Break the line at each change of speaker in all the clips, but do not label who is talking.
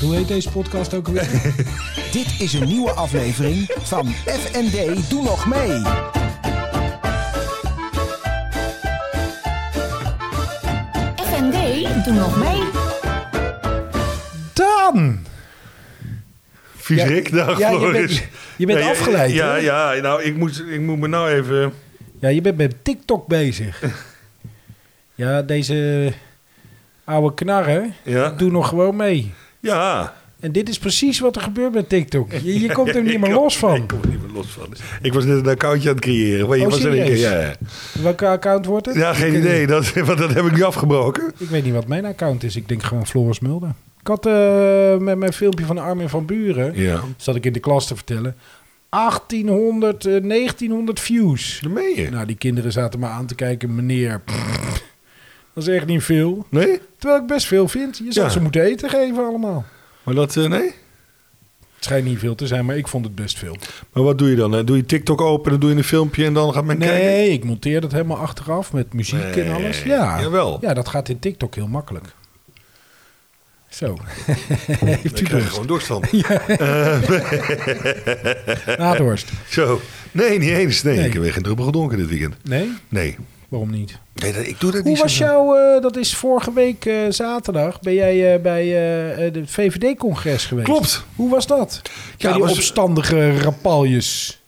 Hoe heet deze podcast ook alweer?
Dit is een nieuwe aflevering van FND Doe Nog Mee.
FND, doe nog mee.
Dan! Vies
Ja,
ik dag,
ja, je
nou, Floris.
bent- je bent
Ja, ja,
afgeleid,
Ja,
hè?
ja, nou, ik moet, ik moet me nou even...
ja, je bent met TikTok bezig. Ja, deze oude knarren
Ja,
doen nog gewoon mee.
ja.
En dit is precies wat er gebeurt met TikTok. Je, je komt er
Ik
niet meer
kom-
los van.
Ik kom er niet meer los van. Ik was net een accountje aan het creëren. Weet je,
Oh,
was er een keer,
serieus?
ja, ja.
Welke account wordt het?
ja, geen idee. Dat, want dat heb ik nu afgebroken.
Ik weet niet wat mijn account is. Ik denk gewoon Floris Mulder. Ik had eh, met mijn filmpje van Armin van Buren...
Ja.
zat ik in de klas te vertellen... 1800, eh, 1900 views.
Dat meen je.
Nou, die kinderen zaten me aan te kijken, meneer. pff, dat is echt niet veel.
Nee?
Terwijl ik best veel vind. Je zou
Ja.
ze moeten eten geven allemaal.
Maar dat, eh, nee?
Het schijnt niet veel te zijn, maar ik vond het best veel.
Maar wat doe je dan? hè? Doe je TikTok open, dan doe je een filmpje en dan gaat men kijken?
Nee, ik monteer dat helemaal achteraf met muziek
Nee,
en alles. Ja.
jawel.
ja, dat gaat in TikTok heel makkelijk. Zo. Heeft u
Ik krijg
dorst?
gewoon doorstand.
Na dorst.
Zo. Nee, niet eens. Nee,
Nee.
ik heb weer geen druppel gedronken dit weekend.
Nee?
Nee.
Waarom niet?
Nee, dat- ik doe dat
Hoe
niet
was
zo.
jouw, eh, dat is vorige week eh, zaterdag, ben jij eh, bij eh, eh, de VVD-congres geweest?
Klopt.
Hoe was dat? Ja, die
was-
opstandige rapaljes.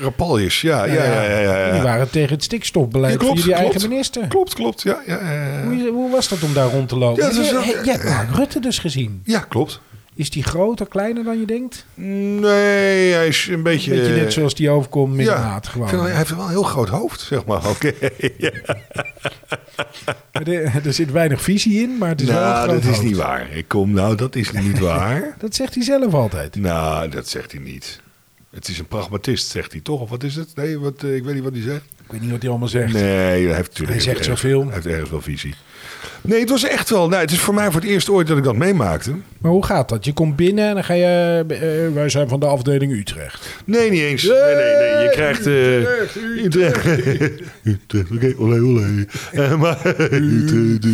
Rapaljes, ja, ja, ja, ja, ja, ja.
Die waren tegen het stikstofbeleid
Ja, klopt,
van jullie
klopt.
eigen minister.
Klopt, klopt. Ja, ja, ja, ja.
Hoe, hoe was dat om daar rond te lopen?
Ja, dat is
Jij-
wel-
jij- jij hebt Mark Rutte dus gezien.
ja klopt.
Is die groter, kleiner dan je denkt?
Nee, hij is een beetje...
Beetje net zoals die overkomt,
eh,
middenmaat
ik vind wel-
gewoon.
hij heeft wel een heel groot hoofd, zeg maar. Oké.
Er, er zit weinig visie in, maar het is wel een
nou,
groot
dat is
hoofd.
niet waar. Ik kom, nou, dat is niet waar.
Dat zegt hij zelf altijd.
nou, dat zegt hij niet. Het is een pragmatist, zegt hij toch? Of wat is het? Nee, wat, eh, ik weet niet wat hij zegt.
Ik weet niet wat hij allemaal zegt.
Nee, hij heeft natuurlijk.
Hij zegt
ergens-
zoveel.
Hij heeft ergens wel visie. Nee, het was echt wel. Nou, het is voor mij voor het eerst ooit dat ik dat meemaakte.
Maar hoe gaat dat? Je komt binnen en dan ga je... eh, wij zijn van de afdeling Utrecht.
Nee, niet eens. Nee, nee, nee. Je krijgt... eh Utrecht. Utrecht. Oké, olé, olé. Eh, maar... Utrecht.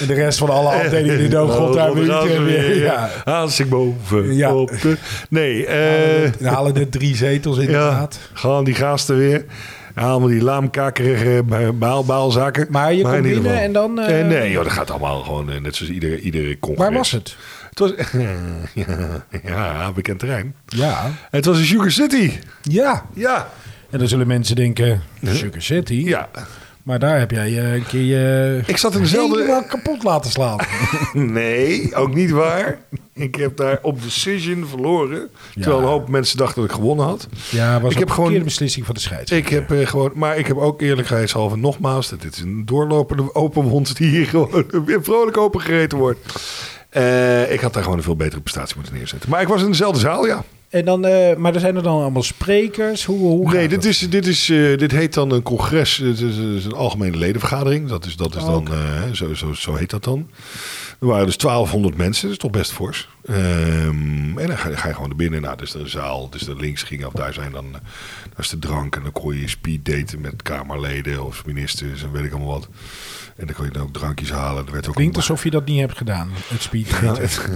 En de rest van alle afdelingen in de doofgrond
Nou,
daar weer Utrecht weer. Ja.
Ja. Haas ik boven.
Ja.
Op de- Nee, eh...
We halen er drie zetels
Ja,
inderdaad.
gaan die gasten weer. Allemaal die laamkakerige baal, baalzakken.
Maar je komt
in ieder
binnen
geval-
en dan, eh,
Eh, nee, joh, dat gaat allemaal gewoon eh, net zoals iedere, iedere congres.
Waar was het?
Het was... ja, ja, bekend terrein.
Ja.
Het was in Sugar City.
Ja.
Ja.
En dan zullen mensen denken, Sugar City.
Ja.
Maar daar heb jij eh, een keer je
Ik zat in dezelfde...
helemaal kapot laten slaan.
Nee, ook niet waar. Ik heb daar op decision verloren. Terwijl een hoop mensen dachten dat ik gewonnen had.
ja, was
Ik
ik
heb
heb
gewoon-
een beslissing van de scheidsrechter.
Ik heb eh, gewoon, maar ik heb ook eerlijkheidshalve nogmaals, dat dit is een doorlopende open wond die hier gewoon weer vrolijk opengereten wordt. Eh, ik had daar gewoon een veel betere prestatie moeten neerzetten. Maar ik was in dezelfde zaal, ja.
En dan, eh, maar er zijn er dan allemaal sprekers. Hoe, hoe
Nee,
gaat
dit,
dat?
is, dit, is, eh, dit heet dan een congres. Dit is, dit is een algemene ledenvergadering. Dat is, dat is
Oh,
dan,
oké.
eh, hè, zo, zo, zo heet dat dan. Er waren dus 1200 mensen. Dat is toch best fors. Ehm, en dan ga, je- ga je gewoon naar binnen. Nou, dus een zaal. Dus de links ging af. Daar zijn dan eh, daar is de drank. En dan kon je speed daten met kamerleden of ministers en weet ik allemaal wat. En dan kon je dan ook drankjes halen. Er werd ook
Klinkt
een-
alsof je dat niet hebt gedaan, het
Nou,
speeddaten.
het-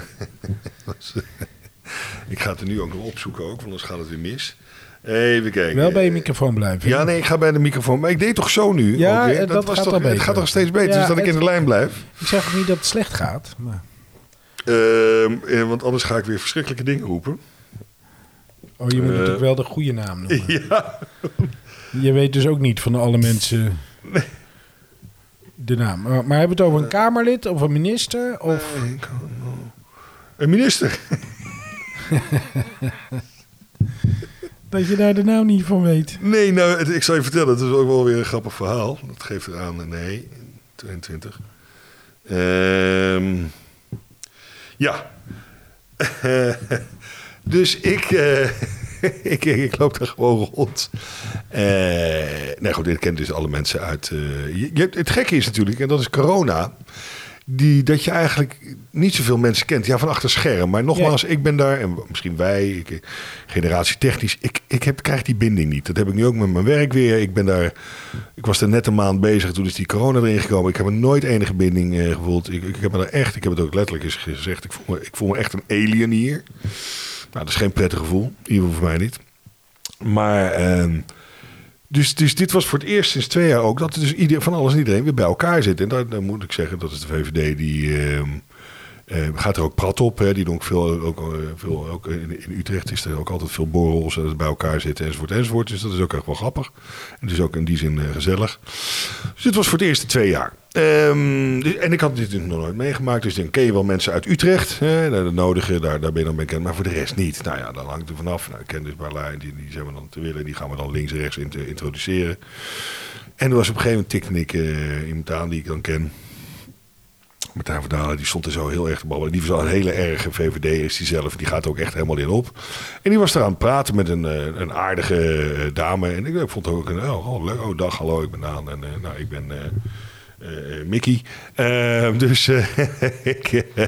was- ik ga het er nu ook nog opzoeken ook, want anders gaat het weer mis. Even kijken.
Wel bij je microfoon blijven.
Ja, nee, ik ga bij de microfoon. Maar ik deed toch zo nu?
Ja,
ook weer?
dat gaat
toch,
al beter.
Het gaat toch steeds beter,
Ja,
dus dat ik
het-
in de lijn blijf.
Ik zeg ook niet dat het slecht gaat. Maar...
Ehm, eh, want anders ga ik weer verschrikkelijke dingen roepen.
Oh, je moet
Eh.
natuurlijk wel de goede naam noemen.
Ja.
Je weet dus ook niet van alle mensen de naam. Maar, maar hebben we het over
Eh.
een Kamerlid of een minister? Of...
Een minister.
Dat je daar de naam niet van weet.
Nee, nou, het- ik zal je vertellen, het is ook wel weer een grappig verhaal. Dat geeft eraan, nee, 22. Ehm, ja. dus ik, eh, ik, ik loop daar gewoon rond. Eh, nee, goed, dit kent dus alle mensen uit... eh, je, je hebt- het gekke is natuurlijk, en dat is corona... die, dat je eigenlijk niet zoveel mensen kent. Ja, van achter scherm. Maar nogmaals, ik ben daar, en misschien wij, ik, eh, generatie technisch, ik, ik heb, krijg die binding niet. Dat heb ik nu ook met mijn werk weer. Ik ben daar, ik was er net een maand bezig, toen is die corona erin gekomen. Ik heb er nooit enige binding eh, gevoeld. Ik, ik heb me daar echt, ik heb het ook letterlijk eens gezegd, ik voel me, ik voel me echt een alien hier. Nou, dat is geen prettig gevoel, in ieder geval voor mij niet. Maar, ehm, dus, dus dit was voor het eerst sinds twee jaar ook dat er dus ieder, van alles en iedereen weer bij elkaar zit. En daar, daar moet ik zeggen, dat is de VVD die ehm, eh, gaat er ook prat op. Hè. Die doen ook veel, ook, eh, veel ook in, in Utrecht is er ook altijd veel borrels eh, dat ze bij elkaar zitten enzovoort enzovoort. Dus dat is ook echt wel grappig. En dus ook in die zin eh, gezellig. Dus dit was voor het eerst in twee jaar. Ehm, dus- en ik had dit nog nooit meegemaakt. Dus dan ken je wel mensen uit Utrecht. Hè, de, de nodige, daar, daar ben je dan bekend. Maar voor de rest niet. Nou ja, daar hangt er vanaf. Nou, ik ken dus Berlijn. Die, die zijn we dan te willen. Die gaan we dan links en rechts in te introduceren. En er was op een gegeven moment tikte ik eh, iemand aan die ik dan ken. Martijn van Dalen, die stond er zo heel erg te babbelen. Die was al een hele erge VVD, is die zelf. Die gaat er ook echt helemaal in op. En die was daar aan het praten met een, eh, een aardige eh, dame. En ik, eh, vond ook een, oh, oh, leuk. oh, dag, hallo, ik ben Daan. En eh, nou, ik ben eh, eh, eh, Mickey. Ehm, dus eh, ik, eh,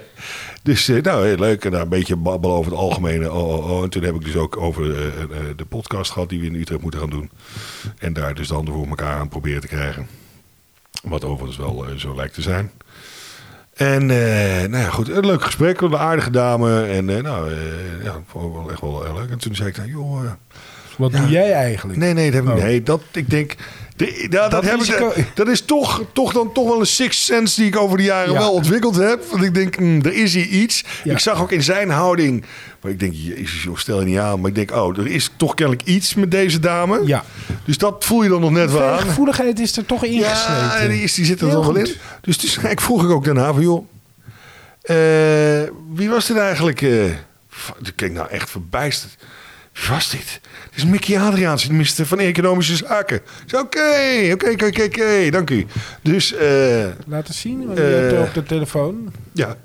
dus eh, nou, heel leuk. En daar een beetje babbelen over het algemene. Oh, oh, oh. En toen heb ik dus ook over eh, eh, de podcast gehad die we in Utrecht moeten gaan doen. En daar dus de handen voor elkaar aan proberen te krijgen. Wat overigens wel eh, zo lijkt te zijn. En eh, nou ja, goed, een leuk gesprek, een aardige dame. En eh, nou, eh, ja, vond ik wel echt wel heel leuk. En toen zei ik, nou, joh, eh,
Wat
Ja.
doe jij eigenlijk?
nee, nee, dat heb ik
Oh.
niet. Nee, dat, ik denk, de- ja, dat,
Dat
heb
risico-
ik, dat is toch, toch, dan, toch wel een sixth sense die ik over de jaren
Ja.
wel ontwikkeld heb. Want ik denk, hm, er is hier iets.
Ja.
Ik zag ook in zijn houding, maar ik denk, jezus joh, stel je niet aan. Maar ik denk, oh, er is toch kennelijk iets met deze dame.
Ja.
Dus dat voel je dan nog net wel
De
aan.
gevoeligheid is er toch
Ja,
ingesleten.
die, is, die zit er
Heel
toch wel in.
goed.
Dus, dus ik vroeg ik ook daarna van, joh, eh, wie was dit eigenlijk? eh? Fa- ik keek nou echt verbijsterd. Wie was dit? Dit is Mickey Adriaans, de minister van Economische Zaken. Ik zei, oké, oké, oké, oké, oké, dank u. Dus, eh,
Laat eens zien, want
Eh.
je hebt er op de telefoon.
ja.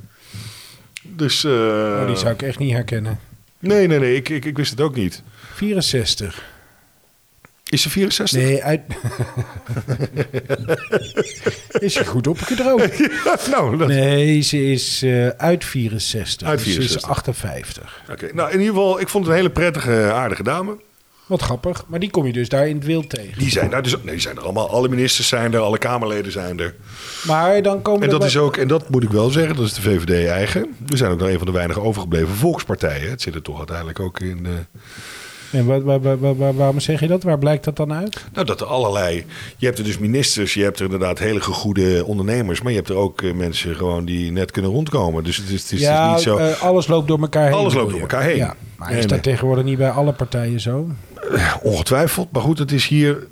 Dus, eh,
Oh, die zou ik echt niet herkennen.
nee, nee, nee, ik, ik, ik wist het ook niet.
64.
Is ze 64?
Nee, uit... is je goed opgedroogd?
Ja, nou, dat,
Nee, ze is eh, uit 64.
Uit
Dus ze is
64.
58.
Oké, nou, in ieder geval, ik vond het een hele prettige, aardige dame.
Wat grappig. Maar die kom je dus daar in het wild tegen.
Die zijn daar dus, nee, die zijn er allemaal. Alle ministers zijn er, alle Kamerleden zijn er.
Maar dan komen
En
er
dat
wel-
is ook, en dat moet ik wel zeggen, dat is de VVD eigen. We zijn ook nog een van de weinige overgebleven volkspartijen. Het zit er toch uiteindelijk ook in. eh,
En waar, waar, waar, waar- waar- waarom zeg je dat? Waar blijkt dat dan uit?
nou, dat er allerlei. Je hebt er dus ministers, je hebt er inderdaad hele gegoede ondernemers. Maar je hebt er ook eh, mensen gewoon die net kunnen rondkomen. Dus het is, het is, het is niet zo.
eh, alles loopt door elkaar heen.
Alles loopt
bedoel
door
je.
elkaar heen.
Ja, maar is
En,
dat
eh,
tegenwoordig niet bij alle partijen zo?
Ongetwijfeld. Maar goed, het is hier.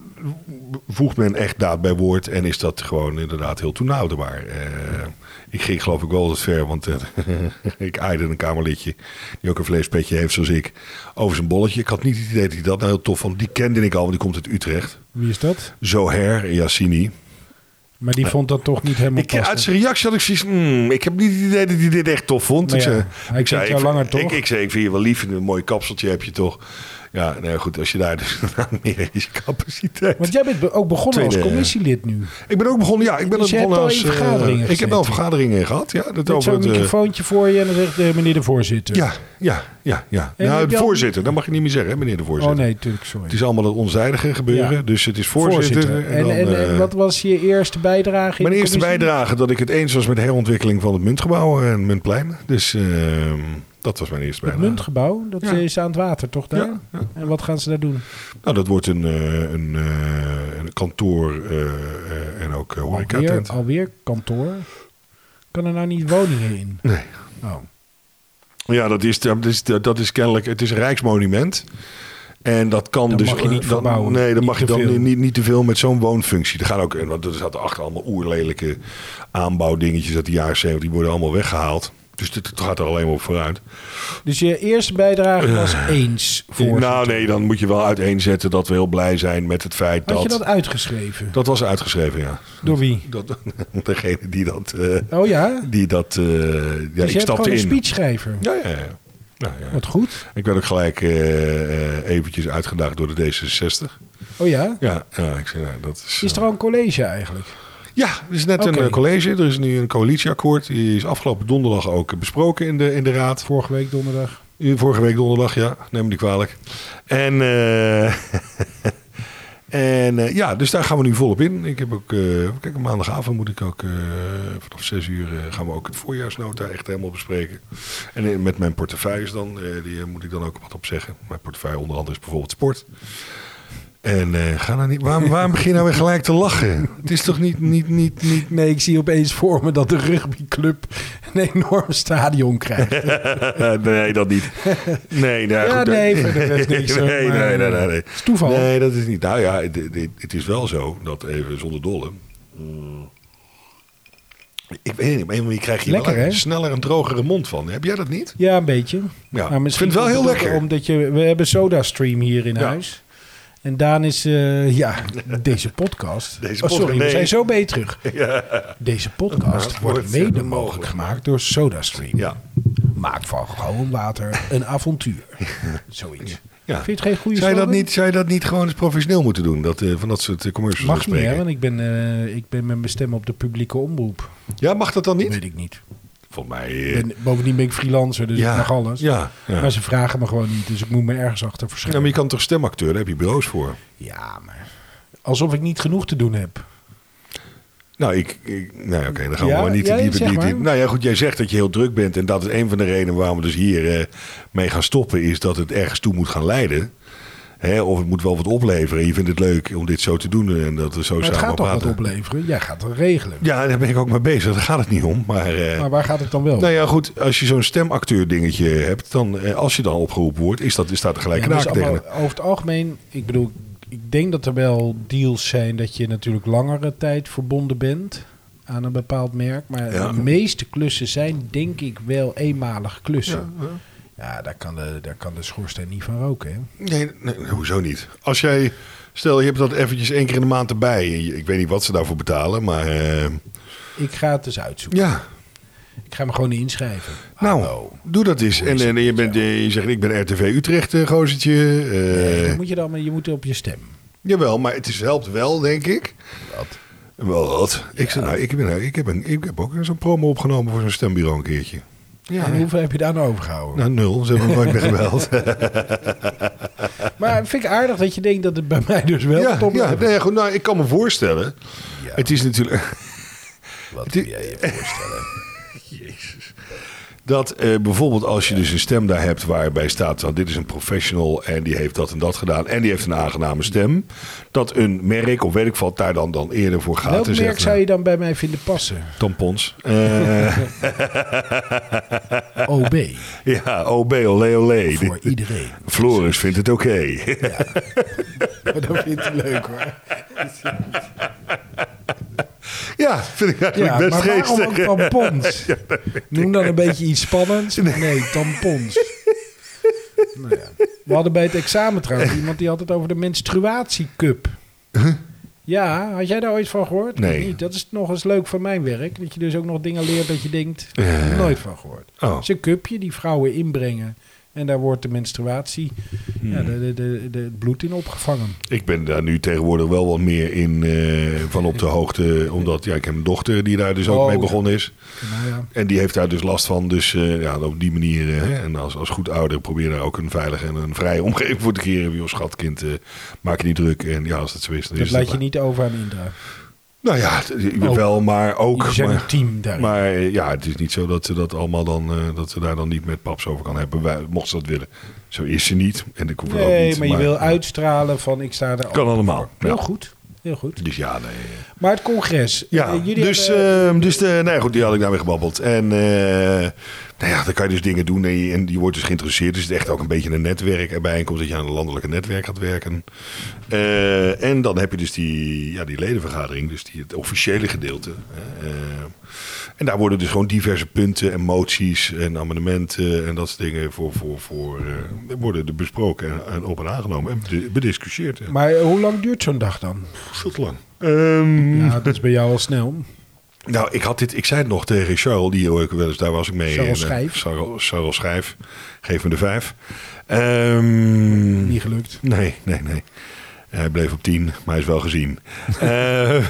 Voegt men echt daad bij woord en is dat gewoon inderdaad heel toenouderbaar. Eh, ik ging geloof ik wel wat ver, want eh, ik aaide een kamerlidje die ook een vleespetje heeft zoals ik over zijn bolletje. Ik had niet het idee dat hij dat nou heel tof vond. Die kende ik al, want die komt uit Utrecht.
Wie is dat?
Zoher Yassini.
Maar die vond dat toch niet helemaal
Ik, eh, uit
passend.
zijn reactie had ik zoiets hmm, ik heb niet het idee dat hij dit echt tof vond.
Maar
ik
ja,
zei,
hij
ik, zei,
kent jou
ik-
langer, toch?
Ik, ik zei, ik vind je wel lief, een mooi kapseltje heb je toch. Ja, nou ja, goed, als je daar dus aan meer is je capaciteit.
Want jij bent be- ook begonnen als
Tweede-
commissielid nu.
Ik ben ook begonnen, ja, ik ben
Dus
ook
je hebt
begonnen
al
als...
in
eh,
vergaderingen
ik heb
gezeten?
wel vergaderingen gehad, ja. Dat
Met
over
zo'n
het, eh,
microfoontje voor je en dan zegt eh, meneer de voorzitter.
ja, ja, ja. ja.
En
nou,
heb
de
je al-
voorzitter, dat mag je niet meer zeggen, hè, meneer de
Oh
voorzitter.
nee, natuurlijk, sorry.
Het is allemaal het onzijdige gebeuren,
Ja.
dus het is voorzitter.
En, en,
dan,
en,
eh,
wat was je eerste bijdrage? in
Mijn
de
eerste
commissie?
bijdrage dat ik het eens was met de herontwikkeling van het Muntgebouw en Muntplein. Dus ehm, dat was mijn eerste
Het
bijdrage.
muntgebouw, dat
Ja.
is aan het water, toch? Daar?
Ja,
En wat gaan ze daar doen?
Nou, dat wordt een, eh, een, eh, een kantoor eh, eh, en ook eh,
Alweer,
horecatent.
alweer kantoor. Kan er nou niet woningen in?
Nee.
Oh.
Ja, dat is, dat, is, dat is kennelijk. Het is een rijksmonument. En dat kan
Dat
dus.
mag je niet
dan-
verbouwen.
nee, dat
Niet
mag je
te
dan
veel.
niet, niet, niet te veel met zo'n woonfunctie. Er gaan ook. en Want er zaten achter allemaal oerlelijke aanbouwdingetjes uit de jaren 70. Die worden allemaal weggehaald. Dus dit, het gaat er alleen maar op vooruit.
Dus je eerste bijdrage was eens voor.
Eh, Nou, nee, dan moet je wel uiteenzetten dat we heel blij zijn met het feit
Had
dat.
je dat
dat...
uitgeschreven?
was uitgeschreven, ja.
Door wie?
Dat, degene die dat. eh,
Oh ja?
die dat eh, ja,
dus je
ik
hebt gewoon
stapte
een
in.
speechschrijver.
Ja, ja, ja. Ja, ja.
Wat goed.
Ik werd ook gelijk eh, eh, eventjes uitgedaagd door de D66.
Oh ja?
Ja, ja ik zei, nou, dat is...
Is
eh,
er al een college eigenlijk?
Ja, er is net
Oké.
een eh, college. Er is nu een coalitieakkoord. Die is afgelopen donderdag ook besproken in de, in de raad.
Vorige week donderdag.
Vorige week donderdag, ja. Neem me niet kwalijk. En, eh, en eh, ja, dus daar gaan we nu volop in. Ik heb ook, eh, kijk, maandagavond moet ik ook, eh, vanaf zes uur eh, gaan we ook het voorjaarsnota echt helemaal bespreken. En eh, met mijn portefeuilles dan, eh, die eh, moet ik dan ook wat op zeggen. Mijn portefeuille onder andere is bijvoorbeeld sport. En eh, ga nou niet, waarom, waarom begin je nou weer gelijk te lachen? Het is toch niet, niet, niet, niet,
Nee, ik zie opeens voor me dat de rugbyclub een enorm stadion krijgt.
Eh, nee, dat niet. Nee, nou,
Ja,
goed,
nee,
dat-
verder is niks, hoor,
nee,
maar- eh,
nee, nee, nee, nee.
Het is toeval.
Nee, dat is niet. Nou ja, het, het- het is wel zo dat even zonder dolle. mm, Ik weet niet, op een of andere manier krijg je
Lekker,
wel
hè?
sneller een drogere mond van. Heb jij dat niet?
Ja, een beetje.
Ja,
Maar
ik
misschien
vind het wel heel
komt ook
lekker.
Omdat je, we hebben SodaStream hier in
Ja.
huis. En Daan is, eh, ja, deze podcast.
Deze
oh, sorry,
podcast,
we
nee.
zijn zo bij je terug. Deze podcast
Ja,
wordt
wordt
mede
mogelijk
mogelijk gemaakt door SodaStream.
Ja.
Maak van gewoon water een avontuur. Zoiets.
Ja.
Vind je het geen goede
Zou je, dat
slogan?
niet, zou je dat niet gewoon eens professioneel moeten doen? Dat, eh, van dat soort eh, commercials
Mag niet, hè,
bespreken?
want ik ben, eh, ik ben met mijn stem op de publieke omroep.
ja, mag dat dan niet?
Weet ik niet.
Volgens mij...
Ik
eh,
Ben, bovendien ben ik freelancer, dus
ja,
ik mag alles.
Ja, ja.
Maar ze vragen me gewoon niet, dus ik moet me ergens achter
Ja,
verschuilen.
maar je kan toch stemacteur, daar heb je bureaus voor.
Ja, maar alsof ik niet genoeg te doen heb.
Nou, ik, ik, nou ja, oké, dan gaan we
Ja,
maar niet
ja,
te diep
zeg
niet
maar.
in. Nou ja, goed, jij zegt dat je heel druk bent. En dat is een van de redenen waarom we dus hier eh, mee gaan stoppen. Is dat het ergens toe moet gaan leiden. Hè, of het moet wel wat opleveren. Je vindt het leuk om dit zo te doen en dat we zo
Maar het
samen
gaat toch wat
praten.
opleveren? Jij gaat het regelen.
Ja, daar ben ik ook mee bezig. Daar gaat het niet om. Maar, eh,
Maar waar gaat het dan wel?
nou ja, goed, als je zo'n stemacteur dingetje hebt, dan eh, als je dan opgeroepen wordt, is dat, is staat er gelijk
Ja,
een
maar het
haak
is
tegen.
allemaal- over het algemeen, ik bedoel, ik denk dat er wel deals zijn dat je natuurlijk langere tijd verbonden bent aan een bepaald merk. Maar
Ja.
de meeste klussen zijn denk ik wel eenmalige klussen.
Ja,
Ja, daar, kan de, daar kan de schoorsteen niet van roken. Hè?
Nee, nee, hoezo niet? Als jij, stel je hebt dat eventjes één keer in de maand erbij. Ik weet niet wat ze daarvoor betalen, maar eh,
Ik ga het eens uitzoeken.
ja.
Ik ga me gewoon inschrijven.
Nou,
Hallo.
doe dat eens. En, en je, bent, eh, je zegt, ik ben RTV Utrecht, eh, gozertje. Eh,
Nee, dan moet je, dan, je moet op je stem.
Jawel, maar het is, helpt wel, denk ik.
Wat?
Wel wat? Ik, zeg, nou, ik, ben, nou, ik, heb een, ik heb ook zo'n promo opgenomen voor zo'n stembureau een keertje.
En hoeveel heb je daar nou overgehouden?
Nou, nul. Ze hebben me nooit meer gebeld.
Maar vind ik aardig dat je denkt dat het bij mij dus wel
ja,
top
ja, nee, goed, nou, ik kan me voorstellen.
Ja.
Het is natuurlijk...
Wat
kun
jij je voorstellen?
Dat eh, bijvoorbeeld als je dus een stem daar hebt waarbij staat van dit is een professional en die heeft dat en dat gedaan en die heeft een aangename stem. Dat een merk of weet ik wat daar dan, dan eerder voor gaat.
Welk
en
merk
zegt,
zou je dan bij mij vinden passen?
nou, Tampons. Eh,
OB,
ja, oh, OB, olé, olé.
voor iedereen.
Floris vindt het oké.
Maar dat vindt hij leuk hoor.
ja, vind ik eigenlijk
Ja,
best
maar waarom ook
geestig.
tampons? Noem dan een beetje iets spannends. Nee, tampons. Nou ja. We hadden bij het examen trouwens iemand die had het over de menstruatiecup. Ja, had jij daar ooit van gehoord?
Nee.
Of niet? Dat is nog eens leuk van mijn werk. Dat je dus ook nog dingen leert dat je denkt,
Ja, ja, ja.
nooit van gehoord.
Oh.
Het is een cupje die vrouwen inbrengen. En daar wordt de menstruatie,
Hmm.
ja, de, de, de, de- het bloed in opgevangen.
Ik ben daar nu tegenwoordig wel wat meer in eh, van op de hoogte. Omdat ja, ik heb een dochter die daar dus ook
Oh,
mee
ja.
begonnen is.
Nou ja,
En die heeft daar dus last van. Dus eh, ja, op die manier. eh, hè, en als, als goed ouder probeer daar ook een veilige en een vrije omgeving voor te creëren. Joh, schat, kind, eh, maak je niet druk. En ja, als Dus dat zo is, dan
dat
is
laat
het
je
maar.
niet over aan Indra.
Nou ja, t-
Ook.
wel, maar ook.
Jullie zijn
maar-
een team daarin.
maar eh, ja, het is niet zo dat ze dat allemaal dan, eh, dat ze daar dan niet met paps over kan hebben. Wij, mocht ze dat willen. Zo is ze niet. En ik hoef er ook
nee,
niet.
maar je wil uitstralen van ik sta er
Kan allemaal.
Heel
Ja.
goed. Heel goed.
Dus ja, nee.
Maar het congres.
Ja,
eh, jullie
dus,
hebben-
ehm, dus de, nou ja, goed, die had ik daarmee gebabbeld. En eh, nou ja, dan kan je dus dingen doen en je, en je wordt dus geïnteresseerd. Dus het is echt ook een beetje een netwerk erbij komt dat je aan een landelijke netwerk gaat werken. Eh, en dan heb je dus die, ja, die ledenvergadering, dus die, het officiële gedeelte. Eh, en daar worden dus gewoon diverse punten en moties en amendementen en dat soort dingen voor, voor, voor eh, worden er besproken en, en op en aangenomen en bedi- bediscussieerd. Ja,
maar eh, hoe lang duurt zo'n dag dan?
Veel te lang. Ehm,
Ja, dat is bij jou al snel.
Nou, ik had dit, ik zei het nog tegen Charles, die hoor ik wel eens, daar was ik mee.
Charles
En, eh,
Schijf.
Charles, Charles Schijf, geef me de vijf. Ehm,
Niet gelukt.
nee, nee, nee. Hij bleef op tien, maar hij is wel gezien. Eh,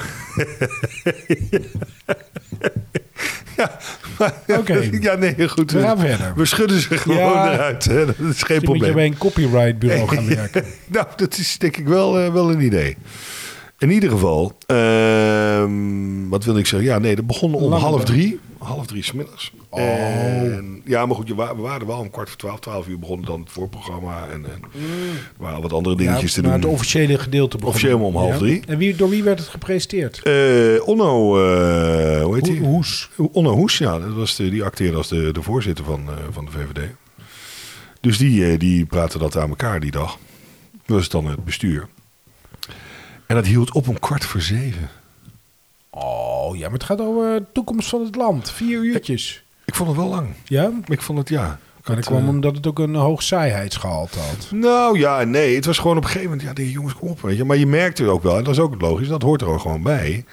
Ja, maar-
Oké.
ja, nee, goed.
We gaan verder.
We schudden ze gewoon
Ja.
eruit. Hè. Dat is
Je
geen
moet je
probleem.
bij een copyrightbureau gaan werken.
Nou, dat is denk ik wel, eh, wel een idee. In ieder geval, ehm, wat wilde ik zeggen? Ja, nee, dat begon om
Lange
half
dag. Oh.
drie. Half drie smiddags. En, ja, maar goed, je wa- we waren wel om kwart voor twaalf. Twaalf uur begon dan het voorprogramma. En, en er waren wat andere dingetjes te
Mm. maar het
doen.
officiële gedeelte begon.
Officieel om half drie.
En wie, door wie werd het gepresenteerd?
Eh, Onno, eh, hoe heet
Ho-
hij?
Hoes.
Onno Hoes, ja. Dat was de, die acteerde als de, de voorzitter van, eh, van de VVD. Dus die, eh, die praatte dat aan elkaar die dag. Dat was dan het bestuur. En dat hield op om kwart voor zeven.
Oh ja, maar het gaat over de toekomst van het land. Vier uurtjes.
Ik vond het wel lang.
Ja?
Ik vond het, ja. Ik
Maar
had,
dat kwam
eh,
omdat het ook een hoog saaiheidsgehalte had.
Nou ja, nee. Het was gewoon op een gegeven moment. Ja, die jongens, kom op. Weet je. Maar je merkte ook wel, en dat is ook logisch, dat hoort er ook gewoon bij.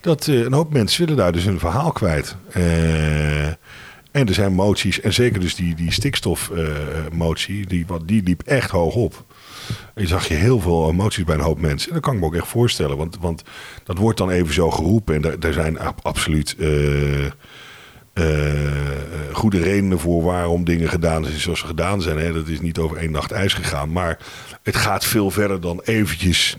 Dat eh, een hoop mensen willen daar dus hun verhaal kwijt. Eh, en er zijn moties. En zeker dus die, die stikstofmotie, die, wat- die liep echt hoog op. En je zag je heel veel emoties bij een hoop mensen. En dat kan ik me ook echt voorstellen. Want, want dat wordt dan even zo geroepen. En daar, daar zijn ab- absoluut eh, eh, goede redenen voor waarom dingen gedaan zijn zoals ze gedaan zijn. Hè. Dat is niet over één nacht ijs gegaan. Maar het gaat veel verder dan eventjes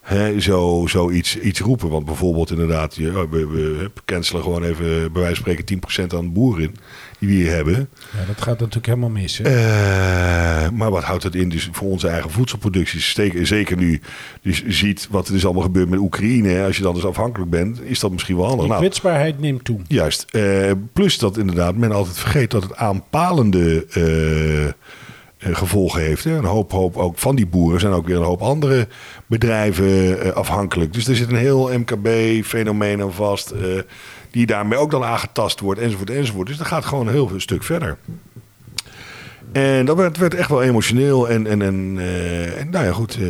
hè, zo, zoiets iets roepen. Want bijvoorbeeld inderdaad, je, oh, we, we hup, cancelen gewoon even bij wijze van spreken 10% aan de boeren die we hier hebben.
Ja, dat gaat natuurlijk helemaal mis. Hè?
Eh, maar wat houdt dat in dus voor onze eigen voedselproductie? Zeker, zeker nu dus je ziet wat er dus allemaal gebeurt met Oekraïne. hè. Als je dan dus afhankelijk bent, is dat misschien wel handig.
Die
Nou,
kwetsbaarheid neemt toe.
Juist. Eh, plus dat inderdaad men altijd vergeet dat het aanpalende eh, eh, gevolgen heeft. Hè. Een hoop, hoop ook van die boeren zijn ook weer een hoop andere bedrijven eh, afhankelijk. Dus er zit een heel MKB-fenomeen aan vast. eh, die daarmee ook dan aangetast wordt, enzovoort, enzovoort. Dus dat gaat gewoon een heel stuk verder. En dat werd, werd echt wel emotioneel. En, en, en, eh, en nou ja, goed. eh,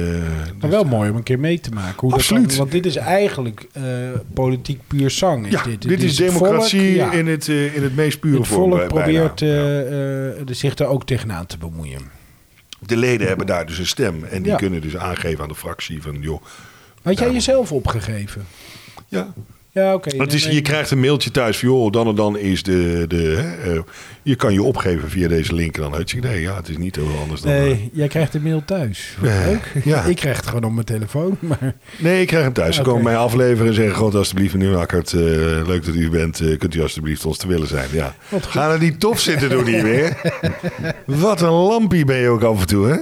Maar wel mooi om een keer mee te maken. Hoe dat
Absoluut.
dan- want dit is eigenlijk eh, politiek puur zang.
ja, dit, is
het
democratie
volk, ja.
in, het, eh, in het meest pure
Het
vorm.
volk
eh, bijna.
probeert eh,
Ja.
eh, er zich daar ook tegenaan te bemoeien.
De leden hebben daar dus een stem. En die
Ja.
kunnen dus aangeven aan de fractie van, joh...
Had jij
Ja.
jezelf opgegeven?
Ja,
Ja, oké.
het is,
Nee,
je
nee.
krijgt een mailtje thuis van, joh, dan en dan is de... de hè, eh, je kan je opgeven via deze link. En dan had je, nee, ja, het is niet heel anders dan... eh,
Nee, jij krijgt de mail thuis. Wat
Nee,
Leuk.
ja.
Ik krijg het gewoon op mijn telefoon. Maar
Nee, ik krijg hem thuis. Ze
Oké.
komen mij afleveren en zeggen... God, alsjeblieft, meneer Akkert, eh, leuk dat u er bent. Eh, kunt u alsjeblieft ons te willen zijn? Ja.
Wat goed.
Ga er niet tof zitten doen hier weer. Wat een lampie ben je ook af en toe, hè?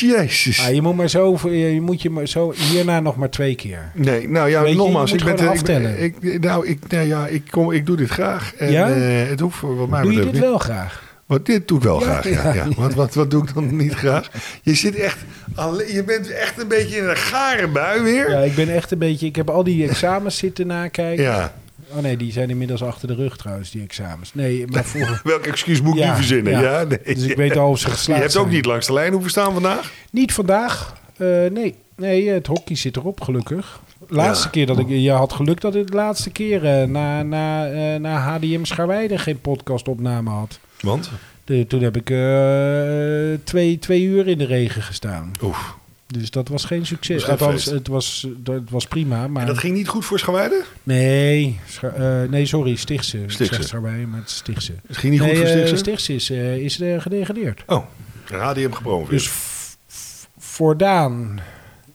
Jezus.
ah, je moet maar zo, je moet je maar zo hierna nog maar twee keer.
Nee, nou ja,
Weet je,
nogmaals,
je moet
ik ben,
gewoon
ik ben-
aftellen.
Ik, nou, ik, nou ja, ik, kom, ik doe dit graag. En,
Ja?
eh, het hoeft voor wat mij
Doe je
betreft
dit
niet.
wel graag?
Want dit doe ik wel
Ja,
graag. Ja, ja.
ja.
Want wat, wat doe ik dan niet graag? Je zit echt, alle- je bent echt een beetje in een gare bui weer.
Ja,
Ja,
ik ben echt een beetje... Ik heb al die examens zitten nakijken. Oh nee, die zijn inmiddels achter de rug trouwens, die examens. Nee, maar voor...
welk excuus moet ik
Ja,
nu verzinnen? Ja.
ja.
nee.
Dus ik weet al of ze
je
geslaagd
hebt ook
zijn.
niet langs de lijn hoeven staan vandaag.
Niet vandaag. Eh, nee. nee, het hockey zit erop, gelukkig. Laatste
Ja.
keer dat ik... Je had geluk dat ik de laatste keer eh, na, na, eh, na HDM Scharweide geen podcastopname had.
Want?
De- toen heb ik eh, twee, twee uur in de regen gestaan.
Oef.
Dus dat was geen succes.
Was geen
Althans,
feest.
het was, het was prima, maar...
En dat ging niet goed voor Schawijden?
Nee, Scha- eh, nee, sorry, Stichtse. Ik
Stichtse.
zeg het erbij, maar het is Stichtse.
Het ging niet
nee,
goed voor
eh,
Stichtse?
is, eh, is eh, gedegradeerd.
Oh, en HDM gepromoveerd.
Dus v- v- Voordaan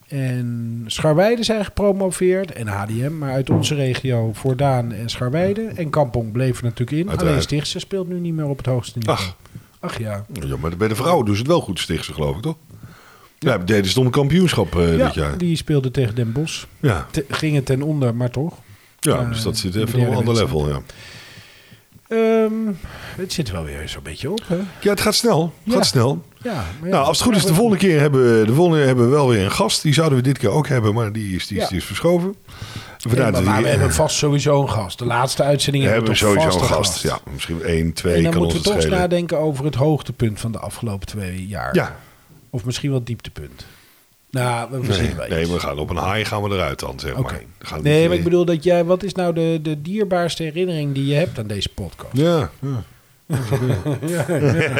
en Scharweide zijn gepromoveerd. En HDM, maar uit onze regio Voordaan en Scharweide. En Kampong bleven natuurlijk in.
Uiteraard.
Alleen Stichtse speelt nu niet meer op het hoogste niveau.
Ach.
Ach ja.
ja, maar bij de vrouwen doen ze het wel goed, Stichtse, geloof ik, toch? Ja, deden ze om een kampioenschap eh, dit
ja,
jaar.
die speelden tegen Den Bosch.
Ja.
Te- gingen ten onder, maar toch.
Ja,
Eh,
dus dat zit
de
even op een
derde
ander
wedstrijd.
level, ja.
Ehm, het zit wel weer zo'n beetje op, hè?
Ja, het gaat snel. Het
Ja.
gaat snel.
Ja, maar ja.
Nou, als het goed is, de volgende keer hebben we, de volgende keer hebben we wel weer een gast. Die zouden we dit keer ook hebben, maar die is, die is,
Ja.
die is verschoven. Vandaar
Nee, maar,
dat
maar we
die-
hebben vast sowieso een gast. De laatste uitzending
we hebben
hebben we toch
sowieso een
vast
gast. Ja, misschien één, twee
en dan
kan
moeten we toch
ons het
eens
schelen.
nadenken over het hoogtepunt van de afgelopen twee jaar.
Ja,
Of misschien wel dieptepunt. Nou, we
nee,
verzinnen wel
nee,
iets.
we gaan op een high gaan we eruit dan, zeg
Oké.
maar. We gaan
Nee,
niet- eh,
maar ik bedoel dat jij... Wat is nou de, de dierbaarste herinnering die je hebt aan deze podcast?
Ja, ja.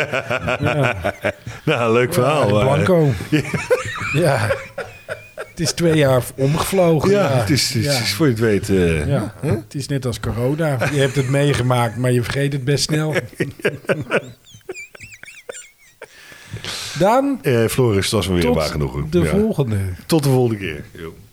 Nou, leuk
Ja,
verhaal.
de
maar, Nou, eh,
Blanco. Ja. Het is twee jaar omgevlogen.
Ja, het is, het is-
Ja.
het is voor je het weet. eh,
Ja, het is net als corona. Je hebt het meegemaakt, maar je vergeet het best snel. Daan,
eh, Floris, dat was me weer een waar
tot
genoegen.
de
Ja.
volgende.
Tot de volgende keer. Jo.